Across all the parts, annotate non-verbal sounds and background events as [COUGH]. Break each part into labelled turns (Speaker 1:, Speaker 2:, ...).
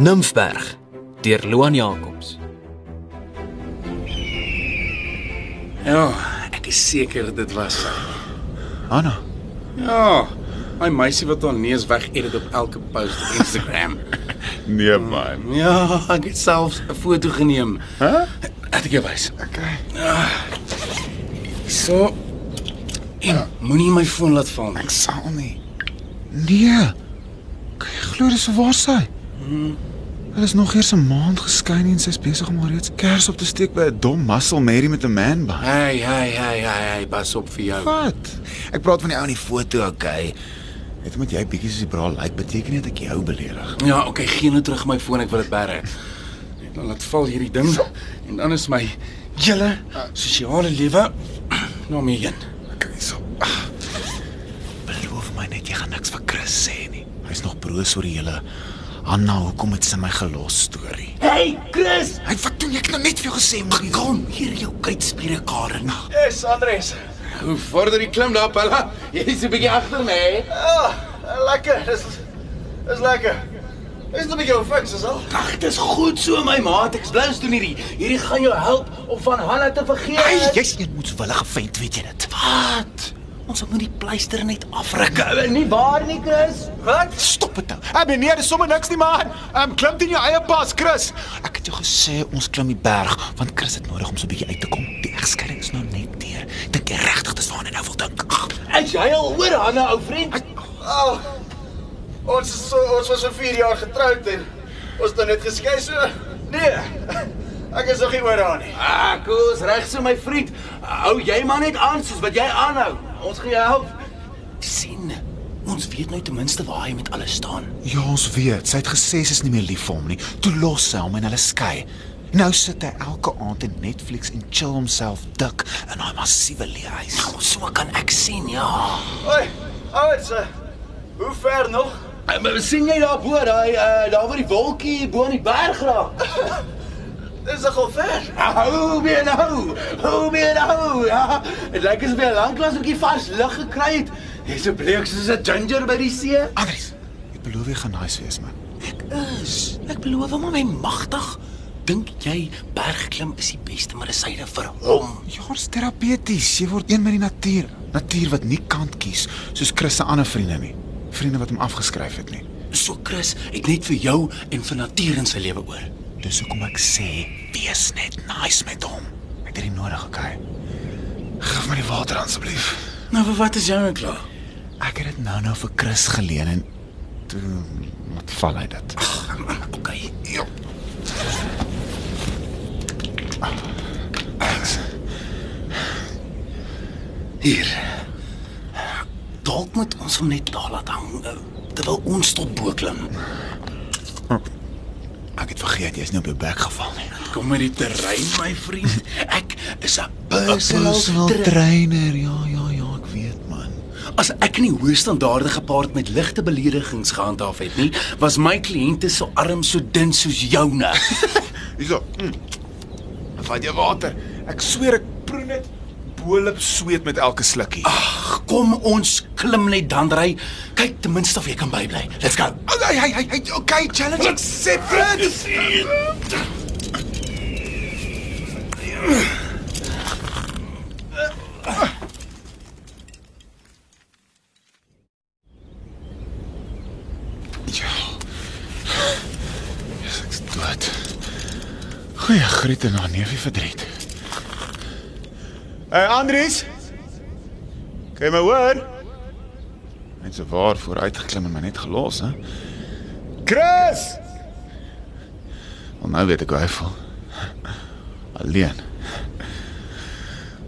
Speaker 1: Nymfberg deur Loan Jacobs.
Speaker 2: Ja, ek is seker dit was sy.
Speaker 3: Hanna,
Speaker 2: Ja, daai meisie wat haar neus wegedit op elke post op Instagram.
Speaker 3: nee man.
Speaker 2: [LAUGHS] ja, ek het selfs 'n foto geneem.
Speaker 3: Hæ? Huh?
Speaker 2: Laat ek jou wys.
Speaker 3: Okay.
Speaker 2: So. En moenie my foon laat val nie.
Speaker 3: Ek sal nie. Nee. Kan jy glo dis waar sy? Hmm. Hulle is nog eers 'n maand geskei en sy's besig om alreeds kers op te steek by 'n dom muscle Mary met 'n man bun.
Speaker 2: Hey, hey, hey, hey, hey, pas op vir jou.
Speaker 3: Wat? Ek praat van die ou in die foto, okay. Net omdat jy bietjie soos die bra lyk, like, beteken nie dat ek jou beledig.
Speaker 2: Ja, okay, gee nou terug my foon, ek wil dit bære. Net dan laat val hierdie ding en dan is my julle sosiale lewe [CLEARS THROAT] nou meer heen.
Speaker 3: Ek kan nie so. Ah. Beloof my net jy gaan niks vir Chris sê nie. Hy's nog broos oor die hele Anna hoekom het sy my gelos storie.
Speaker 2: Hey, Chris,
Speaker 3: Hy wat doen ek nou net vir jou gesê, man? Kom hier jou kuitspiere Karen.
Speaker 4: Dis Andres.
Speaker 2: hoe vorder die klim daar, Pella? Jy's 'n bietjie agter my. hè?
Speaker 4: Ah, lekker. Dis is lekker. Is dit 'n bietjie fiks is al?
Speaker 2: Ag, dis goed so my maat. Ek blous doen hierdie. Hierdie gaan jou help om van Hanna te vergeet.
Speaker 3: Hey, jy's 'n moedswillige vent, weet jy dit?
Speaker 2: Wat? Ons moet die pleister net afruk.
Speaker 4: Nie waar nie, Chris. Wat?
Speaker 3: Stop dit nou. Ek meneer, dis sommer niks nie, man. Ehm um, klim teen jou eie pas, Chris. Ek het jou gesê ons klim die berg, want Chris het nodig om so 'n bietjie uit te kom. Die egskeiding is nou net deur. Dink jy regtig dis waar hy nou wil dink?
Speaker 4: Is jy al oor Hanna, ou vriend? Al. Ons is so, ons was so 4 jaar getroud en ons het nou net geskei so. Nee. Ek is nog nie oor haar nie.
Speaker 2: Ah, koos, reg so my vriend. Hou jy maar net aan soos wat jy aanhou. Ons gaan jou help. sien. Ons weet nou ten minste waar hy met alles staan.
Speaker 3: Ja, ons weet. Sy het gesê sy is nie meer lief vir hom nie. Toe los sy hom en hulle skei. Nou sit hy elke aand in Netflix en chill homself dik in daai massiewe leehuis.
Speaker 2: So kan ek sien, ja.
Speaker 4: Hoi. Ouers, eh, hoe ver nog?
Speaker 2: Eh, sien jy daar bo, daai uh, daar waar die wolkie bo aan die berg raak?
Speaker 4: [LAUGHS] Dis nogal ver.
Speaker 2: Hou weer nou. Hou weer nou. Ja. Dit lyk asof jy 'n lank klas ookie vars lug gekry het. Jy's so bleek soos 'n ginger by die see.
Speaker 3: Andries, ek beloof jy gaan nice wees, man.
Speaker 2: is. Ek beloof hom my magtig. Dink jy bergklim is die beste medisyne vir hom?
Speaker 3: Jaar's terapeuties. Jy word een met die natuur. Natuur wat nie kant kies soos Chris se ander vriende nie. Vriende wat hom afgeskryf het nie.
Speaker 2: So Chris, ek net vir jou en vir natuur in sy lewe oor.
Speaker 3: Dis hoekom ek sê, wees net nice met hom. Ek het dit nodig, okay? Gif my die water asseblief.
Speaker 2: Nou vir wat is jy nou klaar?
Speaker 3: Ek het dit nou-nou vir Chris geleen en toe wat val hy dit.
Speaker 2: Okay.
Speaker 3: Ja.
Speaker 2: Hier. Dalk moet ons hom net daar laat hang eh, terwyl ons tot bo klim.
Speaker 3: Ek het vergeet jy's nie op jou bek geval nie.
Speaker 2: Kom met die terrein my vriend. [LAUGHS] Ek is 'n
Speaker 3: Personal
Speaker 2: personal trainer.
Speaker 3: trainer. Ja, ja, ja, ek weet man.
Speaker 2: As ek nie hoë standaarde gepaard met ligte beledigings gehandhaaf het nie, was my kliënte se so arm so dun soos joune. [LAUGHS]
Speaker 3: Hyso. Mm. Vat jou water. Ek sweer ek proe net boelop sweet met elke slukkie. Ah,
Speaker 2: Kom ons klim net dan ry. Kyk ten minste of jy kan bybly. Let's go.
Speaker 3: Oh, hey, hey, hey, hey, okay, challenge accepted. Ja. Yes, ek's dood. Goeie griet en haar neefie verdriet. Hey Andries. Kom maar hoor. Net so waar vooruit geklim en my net gelos, hè? Chris! Wel nou weet ek hoe hy voel. Alleen.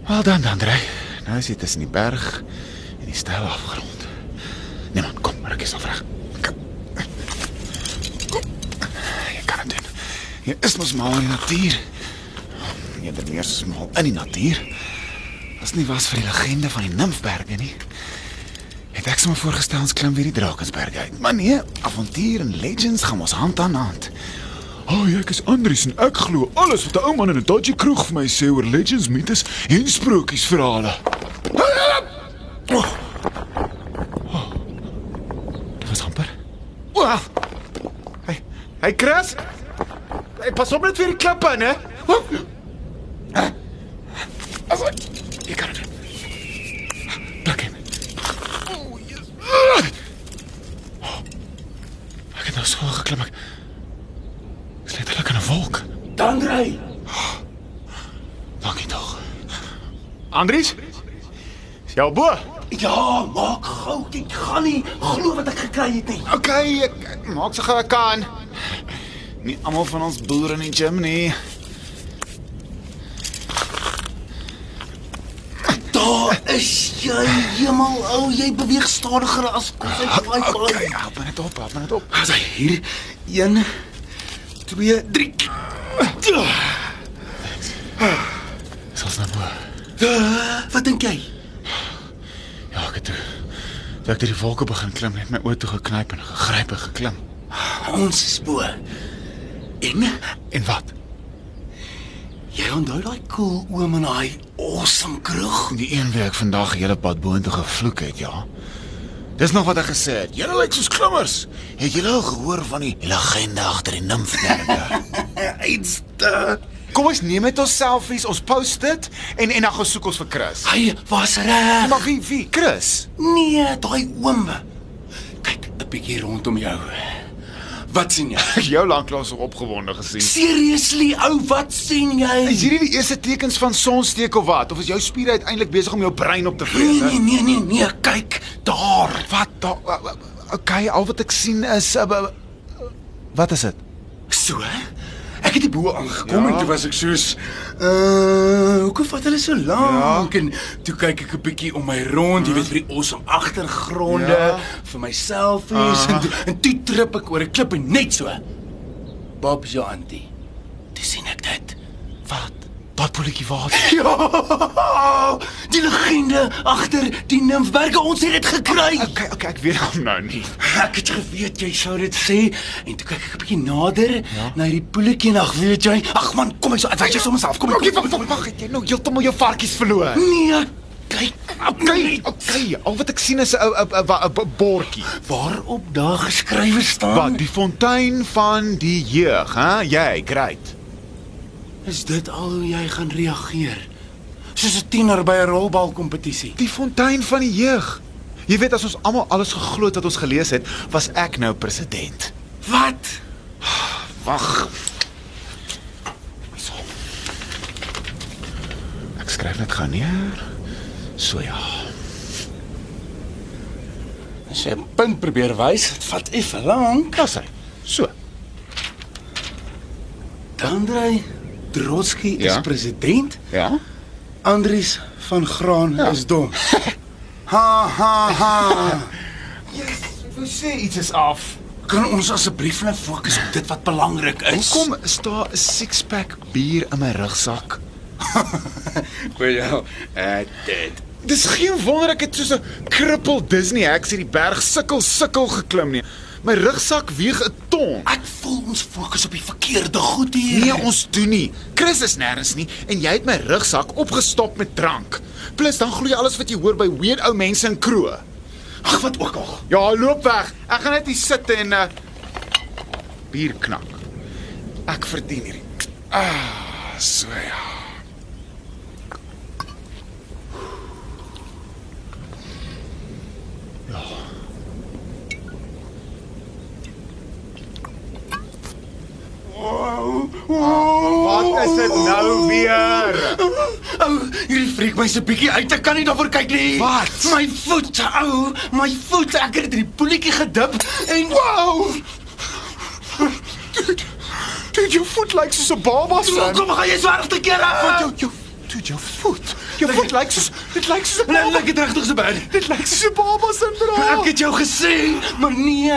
Speaker 3: Wel dan, Andre. Nou is dit tussen die berg en die steil afgrond. Nee man, kom, maar ek is al reg. Kom. Jy kan dit doen. Jy is mos mal in die natuur. Jy het meer smal in die natuur. As nie was vir die legende van die Nimfberge nie. Het ek sommer voorgestel ons klim weer die Drakensberg uit. Maar nee, avontuur en legends gaan ons hand aan hand. O, oh, ek is Andries en ek glo alles wat 'n ou man in 'n dodgy kroeg vir my sê oor legends, mites en sprokiesverhale. Oh. Oh. Dit was amper. Wow. Hey, Hey Chris. Hey, pas op net vir die klippe in, hè. Hoep. As ek jy kan dit. Plak hom. O, yes. Oh, Ek het nou so hoog geklim. Ek Ek is letterlik in 'n wolk.
Speaker 2: Dan ry.
Speaker 3: Dankie tog. Andries? Is jou bo?
Speaker 2: Ja, maak gou. Dit gaan nie glo wat ek gekry het nie.
Speaker 3: Okay, ek, ek maak se gou ek kan. Nie almal van ons boere in die gym nie.
Speaker 2: Daar is jy, hemel ou, jy beweeg stadiger as kos uit my
Speaker 3: Okay, Ja, help my net op, help my net op.
Speaker 2: As hy hier 1 2 3
Speaker 3: Sals nou bo.
Speaker 2: Eh, Wat dink jy?
Speaker 3: Ja, ek het toe. Toe ek deur die wolke begin klim, net my oë toe geknyp en gegryp en geklim.
Speaker 2: Ons is bo. En
Speaker 3: En wat?
Speaker 2: jy onthou daai cool oom en daai awesome krug?
Speaker 3: Die een week ek vandag die hele pad boontoe gevloek het, ja. Dis nog wat ek gesê het. Julle lyk soos klimmers. Het julle al gehoor van die legende agter die nimfberge?
Speaker 2: Uitste.
Speaker 3: [LAUGHS] Kom ons neem net ons selfies, ons post dit en en dan gaan soek ons vir Chris.
Speaker 2: Hy was reg.
Speaker 3: Maar wie wie? Chris.
Speaker 2: Nee, daai oom. Kyk 'n bietjie rondom jou. Wat sien jy?
Speaker 3: Ek jou lanklaas opgewonde gesien.
Speaker 2: Seriously ou, wat sien
Speaker 3: Is
Speaker 2: jy?
Speaker 3: hierdie die eerste tekens van sonsteek of wat? Of is jou spiere uiteindelik besig om jou brein op te
Speaker 2: Nee,
Speaker 3: vreet?
Speaker 2: nee, nee, nee, nee, kyk daar.
Speaker 3: [LAUGHS] Wat? Da, okay, al wat ek sien is uh, uh, wat is dit?
Speaker 2: So? Ek het die bo aangekom
Speaker 3: Ja.
Speaker 2: ja. en toe was ek soos, uh, hoekom vat hulle so lank? Ja. En toe kyk ek 'n bietjie om my rond, jy weet vir die awesome agtergronde,
Speaker 3: Ja.
Speaker 2: ja. Ah. vir my selfies en, toe, en toe trip ek oor 'n klip en net so. Bob se antie. Dis sien ek dit.
Speaker 3: Wat? Wat polletjie
Speaker 2: [LAUGHS]
Speaker 3: water?
Speaker 2: Ja! Die legende agter die nimfberge, ons het dit gekry.
Speaker 3: Okay, okay, ek weet hom nou nie.
Speaker 2: Ek het geweet jy sou dit sê en toe kyk ek 'n bietjie nader ja? na hierdie poeletjie en ag weet jy, ag man, kom ek so advise jou sommer self. Kom ek
Speaker 3: Okay, wag, wag, wag, het jy nou heeltemal jou varkies verloor?
Speaker 2: Nee, kyk.
Speaker 3: Okay, okay, al wat ek sien is 'n ou 'n- 'n- 'n 'n bordjie.
Speaker 2: Waarop daar geskrywe staan?
Speaker 3: Wat? Die fontein van die jeug, hè? Jy, great.
Speaker 2: Is dit al hoe jy gaan reageer? Soos 'n tiener by 'n rolbalkompetisie.
Speaker 3: Die fontein van die jeug. Jy weet as ons almal alles geglo het wat ons gelees het, was ek nou president.
Speaker 2: Wat?
Speaker 3: Wag. So. Ek skryf net gaan neer. So ja.
Speaker 2: As jy 'n punt probeer wys, dit vat effe lank.
Speaker 3: Daar's hy. So.
Speaker 2: Andrei Trotsky ja?
Speaker 3: Ja.
Speaker 2: is president.
Speaker 3: Ja.
Speaker 2: Andries van Graan ja. is [LAUGHS] dom. Ha ha ha.
Speaker 3: Yes, hoe sê iets is af.
Speaker 2: Kan ons asseblief net fokus op dit wat belangrik is?
Speaker 3: Kom, is daar 'n six-pack bier in my
Speaker 2: [LAUGHS]
Speaker 3: rugsak?
Speaker 2: vir jou. Eh dit.
Speaker 3: Dis geen wonder ek het soos 'n krippel Disney heks hierdie berg sukkel sukkel geklim nie. My rugsak weeg 'n ton.
Speaker 2: Ek voel ons fokus op die verkeerde goed hier.
Speaker 3: Nee, ons doen nie. Chris is nêrens nie en jy het my rugsak opgestop met drank. Plus dan glo jy alles wat jy hoor by weird ou mense in kroë.
Speaker 2: ag wat ook al.
Speaker 3: Ja, loop weg. Ek gaan net hier sit en uh bier knak. Ek verdien hierdie. Ah, so ja. Wat is dit nou weer?
Speaker 2: Ou, hierdie freak my so bietjie uit. Ek kan nie daarvoor kyk nie.
Speaker 3: Wat?
Speaker 2: My voet, ou, my voet. Ek het dit in die poeltjie gedip en wow!
Speaker 3: Dude, jou voet lyk soos 'n baba
Speaker 2: Kom gaan jy swaar te keer af.
Speaker 3: Wat jou jou dude, jou voet. Jou voet lyk soos dit lyk soos 'n
Speaker 2: Nee,
Speaker 3: baba.
Speaker 2: ek het regtig se bad.
Speaker 3: Dit lyk soos 'n baba syndroom.
Speaker 2: Ek het jou gesê, maar nee.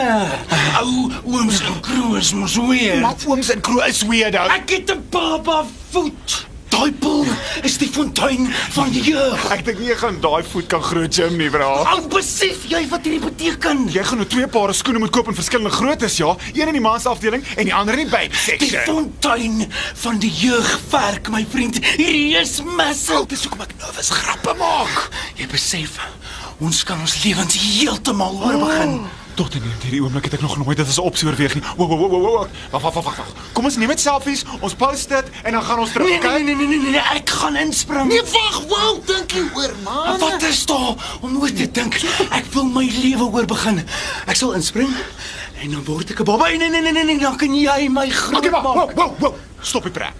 Speaker 2: Ou ooms en kroes mos weer.
Speaker 3: Ah. maar ooms en kroe is weirdo.
Speaker 2: Ek het 'n baba voet. Daai poel is die fontein van die jeug.
Speaker 3: Ek dink nie jy gaan daai voet kan groot gym nie, bra.
Speaker 2: Al besef jy wat hierdie beteken?
Speaker 3: Ah, Jy gaan nou twee pare skoene moet koop in verskillende groottes, ja. Een in die mans afdeling en die ander in die baby
Speaker 2: Die
Speaker 3: section.
Speaker 2: fontein van die jeugwerk, my vriend. Hierdie is massive.
Speaker 3: Dis hoekom ek nervus grappe maak.
Speaker 2: Jy besef, ons kan ons lewens heeltemal oorbegin. Oh.
Speaker 3: Tot en met hierdie oomblik het ek nog nooit dit as 'n opsie oorweeg nie. Wo wo wo wo, wo. Wag wag wag wag. Kom ons neem net selfies, ons post dit en dan gaan ons terug.
Speaker 2: Nee,
Speaker 3: oké?
Speaker 2: nee, nee, nee, nee, nee, nee, ek gaan inspring.
Speaker 5: Nee, wag, wow, dink jy hoor, man?
Speaker 2: Wat is daar om oor te dink? Ek wil my lewe oor begin. Ek sal inspring en dan word ek 'n baba. Nee, nee, nee, nee, nee, dan kan jy my groot
Speaker 3: Okay, wag.
Speaker 2: maak.
Speaker 3: Wow, wow, wow. Stop die pret.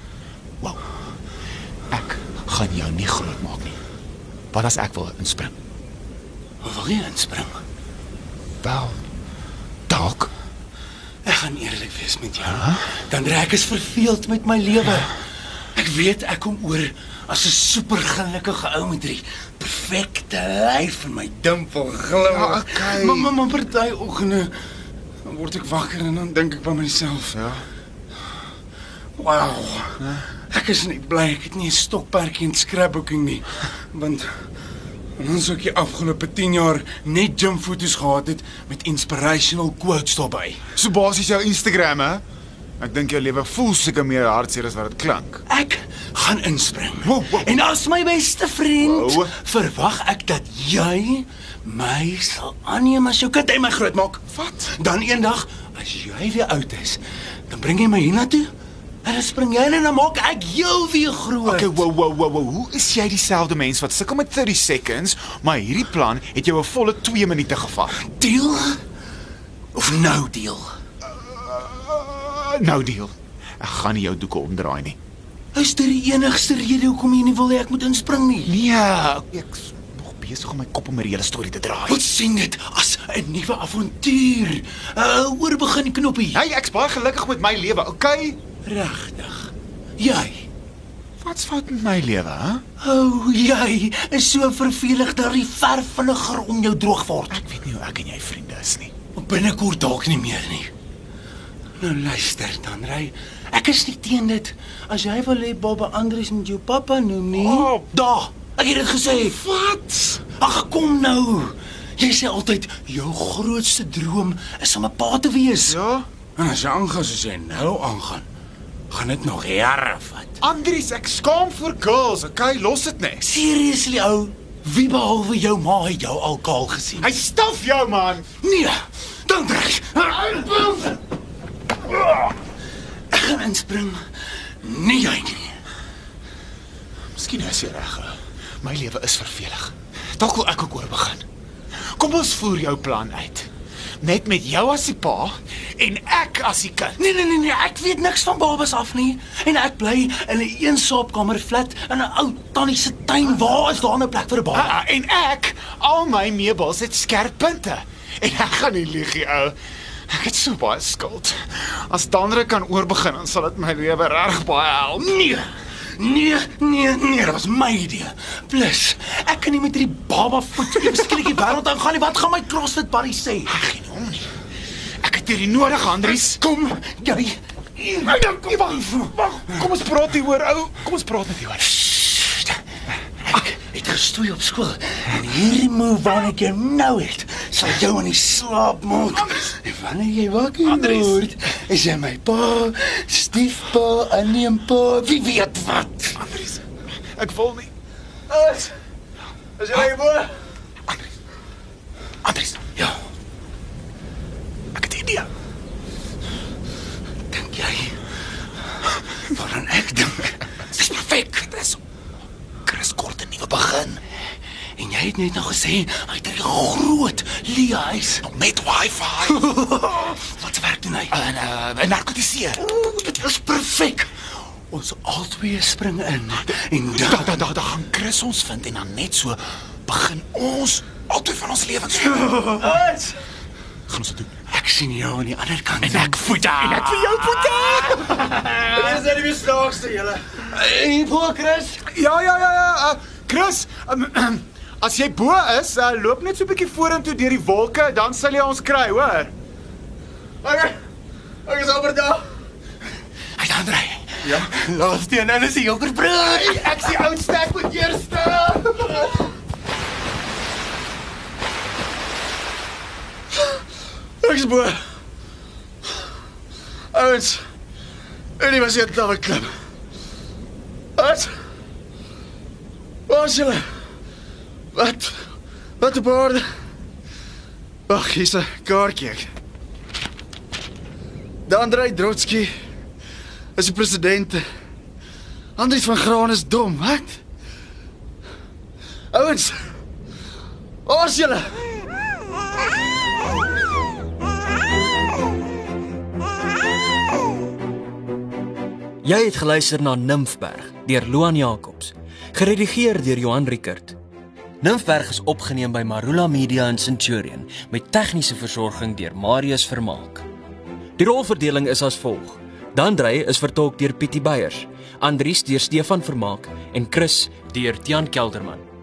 Speaker 3: Wow. Ek gaan jou nie groot maak nie. Wat as ek wil inspring?
Speaker 2: Wil jy inspring?
Speaker 3: Wel. Dalk.
Speaker 2: Ek gaan eerlik wees met jou. Dan raak ek verveeld met my lewe.
Speaker 3: Ja.
Speaker 2: Ek weet ek kom oor as 'n supergelukkige ou met hierdie perfekte lyf en my dimpel glimlag.
Speaker 3: Ja, okay.
Speaker 2: Maar maar maar party oggende dan word ek wakker en dan dink ek by myself,
Speaker 3: Ja.
Speaker 2: Wow. Ek is net bly ek het nie 'n stokperdjie in scrapbooking nie, want ons het die afgelope 10 jaar net gym foto's gehad het met inspirational quotes daarbey.
Speaker 3: So basies jou Instagram hè? Ek dink jou lewe voel seker meer hartseer as wat dit klink.
Speaker 2: Ek gaan inspring.
Speaker 3: Wow, wow.
Speaker 2: En as my beste vriend,
Speaker 3: Wow.
Speaker 2: verwag ek dat jy my sal aanneem as jou kind en my grootmaak. Wat? Dan eendag as jy weer oud is, dan bring jy my hiernatoe. En dan spring jy in en dan maak ek jou weer groot.
Speaker 3: Okay, wow wow wow wow. Hoe is jy dieselfde mens wat sukkel met 30 seconds, maar hierdie plan het jou 'n volle 2 minute gevat.
Speaker 2: Deal of nou no deal?
Speaker 3: Uh, nou deal. Ek gaan nie jou doeke omdraai nie.
Speaker 2: Is dit die enigste rede hoekom jy nie wil hê ek moet inspring nie?
Speaker 3: Nee, ek's nog besig om my kop om hierdie hele storie te draai.
Speaker 2: Wat sien dit as 'n nuwe avontuur? 'n uh, Oorbegin knoppie.
Speaker 3: Hey, Nee, ek's baie gelukkig met my lewe. Okay.
Speaker 2: Regtig. Jy.
Speaker 3: Wat's fout met my lewe, hè?
Speaker 2: O, oh, jy is so vervelig dat die verf vinniger om jou droog word.
Speaker 3: Ek weet nie hoe ek en jy vriende is nie.
Speaker 2: Binnekort dalk nie meer nie. Nou luister dan, Ry. Ek is nie teen dit. As jy wil hê Baba Andries moet jou pappa noem nie.
Speaker 3: Oh.
Speaker 2: Daar. Ek het dit gesê.
Speaker 3: Wat?
Speaker 2: Ag kom nou. Jy sê altyd jou grootste droom is om 'n pa te wees.
Speaker 3: Ja.
Speaker 2: En as jy aangaan soos jy nou aangaan, gaan dit nog jare vat.
Speaker 3: Andries, ek skaam vir girls. Okay, los dit net.
Speaker 2: Seriously ou, wie behalwe jou ma het jou al kaal gesien?
Speaker 3: Hy staf jou man.
Speaker 2: Nee, dan reg. Ek gaan inspring. Nee jy nie.
Speaker 3: Miskien is jy reg. hè. My lewe is vervelig. Dalk wil ek ook oor begin. Kom ons voer jou plan uit. Net met jou as die pa en ek as die kind.
Speaker 2: Nee nee nee nee, ek weet niks van babas af nie en ek bly in 'n eensaapkamer flat in 'n ou tannie se tuin. Waar is daar 'n plek vir 'n baba?
Speaker 3: Ah, en ek, al my meubels het skerp punte. En ek gaan nie lieg nie, ou. Ek het so baie skuld. As Dandre kan oorbegin, dan sal dit my lewe reg baie help.
Speaker 2: Nee. Nee, nee, nee, dit was my idee. Plus, ek kan nie met hierdie baba voet skielik die wêreld aangaan nie. Wat gaan my CrossFit buddy sê?
Speaker 3: Ek gee nie om nie. Ek het hierdie nodig, Andries.
Speaker 2: Kom, jy.
Speaker 3: Hey, dan kom wag. Wag, kom ons praat hieroor, ou. Kom ons praat net hieroor.
Speaker 2: Sst. Ek het gestoei op skool. En hierdie move waarna ek jou nou het, sal jou in die slaap maak. En wanneer jy wakker
Speaker 3: Andries.
Speaker 2: word, is jy my pa, stiefpa, aanneempa, wie weet wat.
Speaker 3: Andries, ek wil nie. Ah.
Speaker 4: Is Is jy reg, boer?
Speaker 3: Andries,
Speaker 2: Ja,
Speaker 3: ek het 'n idee.
Speaker 2: dink jy? Waaraan ek dink?
Speaker 3: Dis perfek. Dis Chris kort 'n nuwe begin.
Speaker 2: En jy het net nou gesê hy het 'n groot leehuis.
Speaker 3: Met Wi-Fi.
Speaker 2: [LAUGHS] Wat werk doen hy?
Speaker 3: En uh, en narkotiseer.
Speaker 2: Ooh, dit is perfek. Ons albei spring in en
Speaker 3: Da
Speaker 2: dan
Speaker 3: da da, da gaan Chris ons vind en dan net so begin ons altyd van ons lewens.
Speaker 4: Is
Speaker 3: gaan ons dit doen.
Speaker 2: ek sien jou aan die ander kant.
Speaker 3: En ek voet daar. En ek vir jou voet daar.
Speaker 4: Dis net die snaakste julle.
Speaker 2: en voor Chris.
Speaker 3: Ja ja ja ja. Uh, Chris, um, [CLEARS THROAT] as jy bo is, uh, loop net so 'n bietjie vorentoe deur die wolke, dan sal jy ons kry, hoor.
Speaker 4: Okay. Ek is amper daar.
Speaker 2: Hy dan ry. Ja. Los die en dan is die jonger broer.
Speaker 3: Ek sien ou stek met eerste.
Speaker 4: Ek is bo. Ouens. Universiteit David Klub. Wat? Waar is julle? Wat? Wat op aarde?
Speaker 2: Ag, hier's 'n kaartjie. De Andrei Trotsky is die president. Andries van Graan is dom, hè? Ouens. Ons julle.
Speaker 1: Jy het geluister na Nimfberg deur Loan Jacobs, geredigeer deur Johan Rickert. Nimfberg is opgeneem by Marula Media in Centurion met tegniese versorging deur Marius Vermaak. Die rolverdeling is as volg: Dandrey is vertolk deur Pietie Beyers, Andries deur Stefan Vermaak en Chris deur Tiaan Kelderman.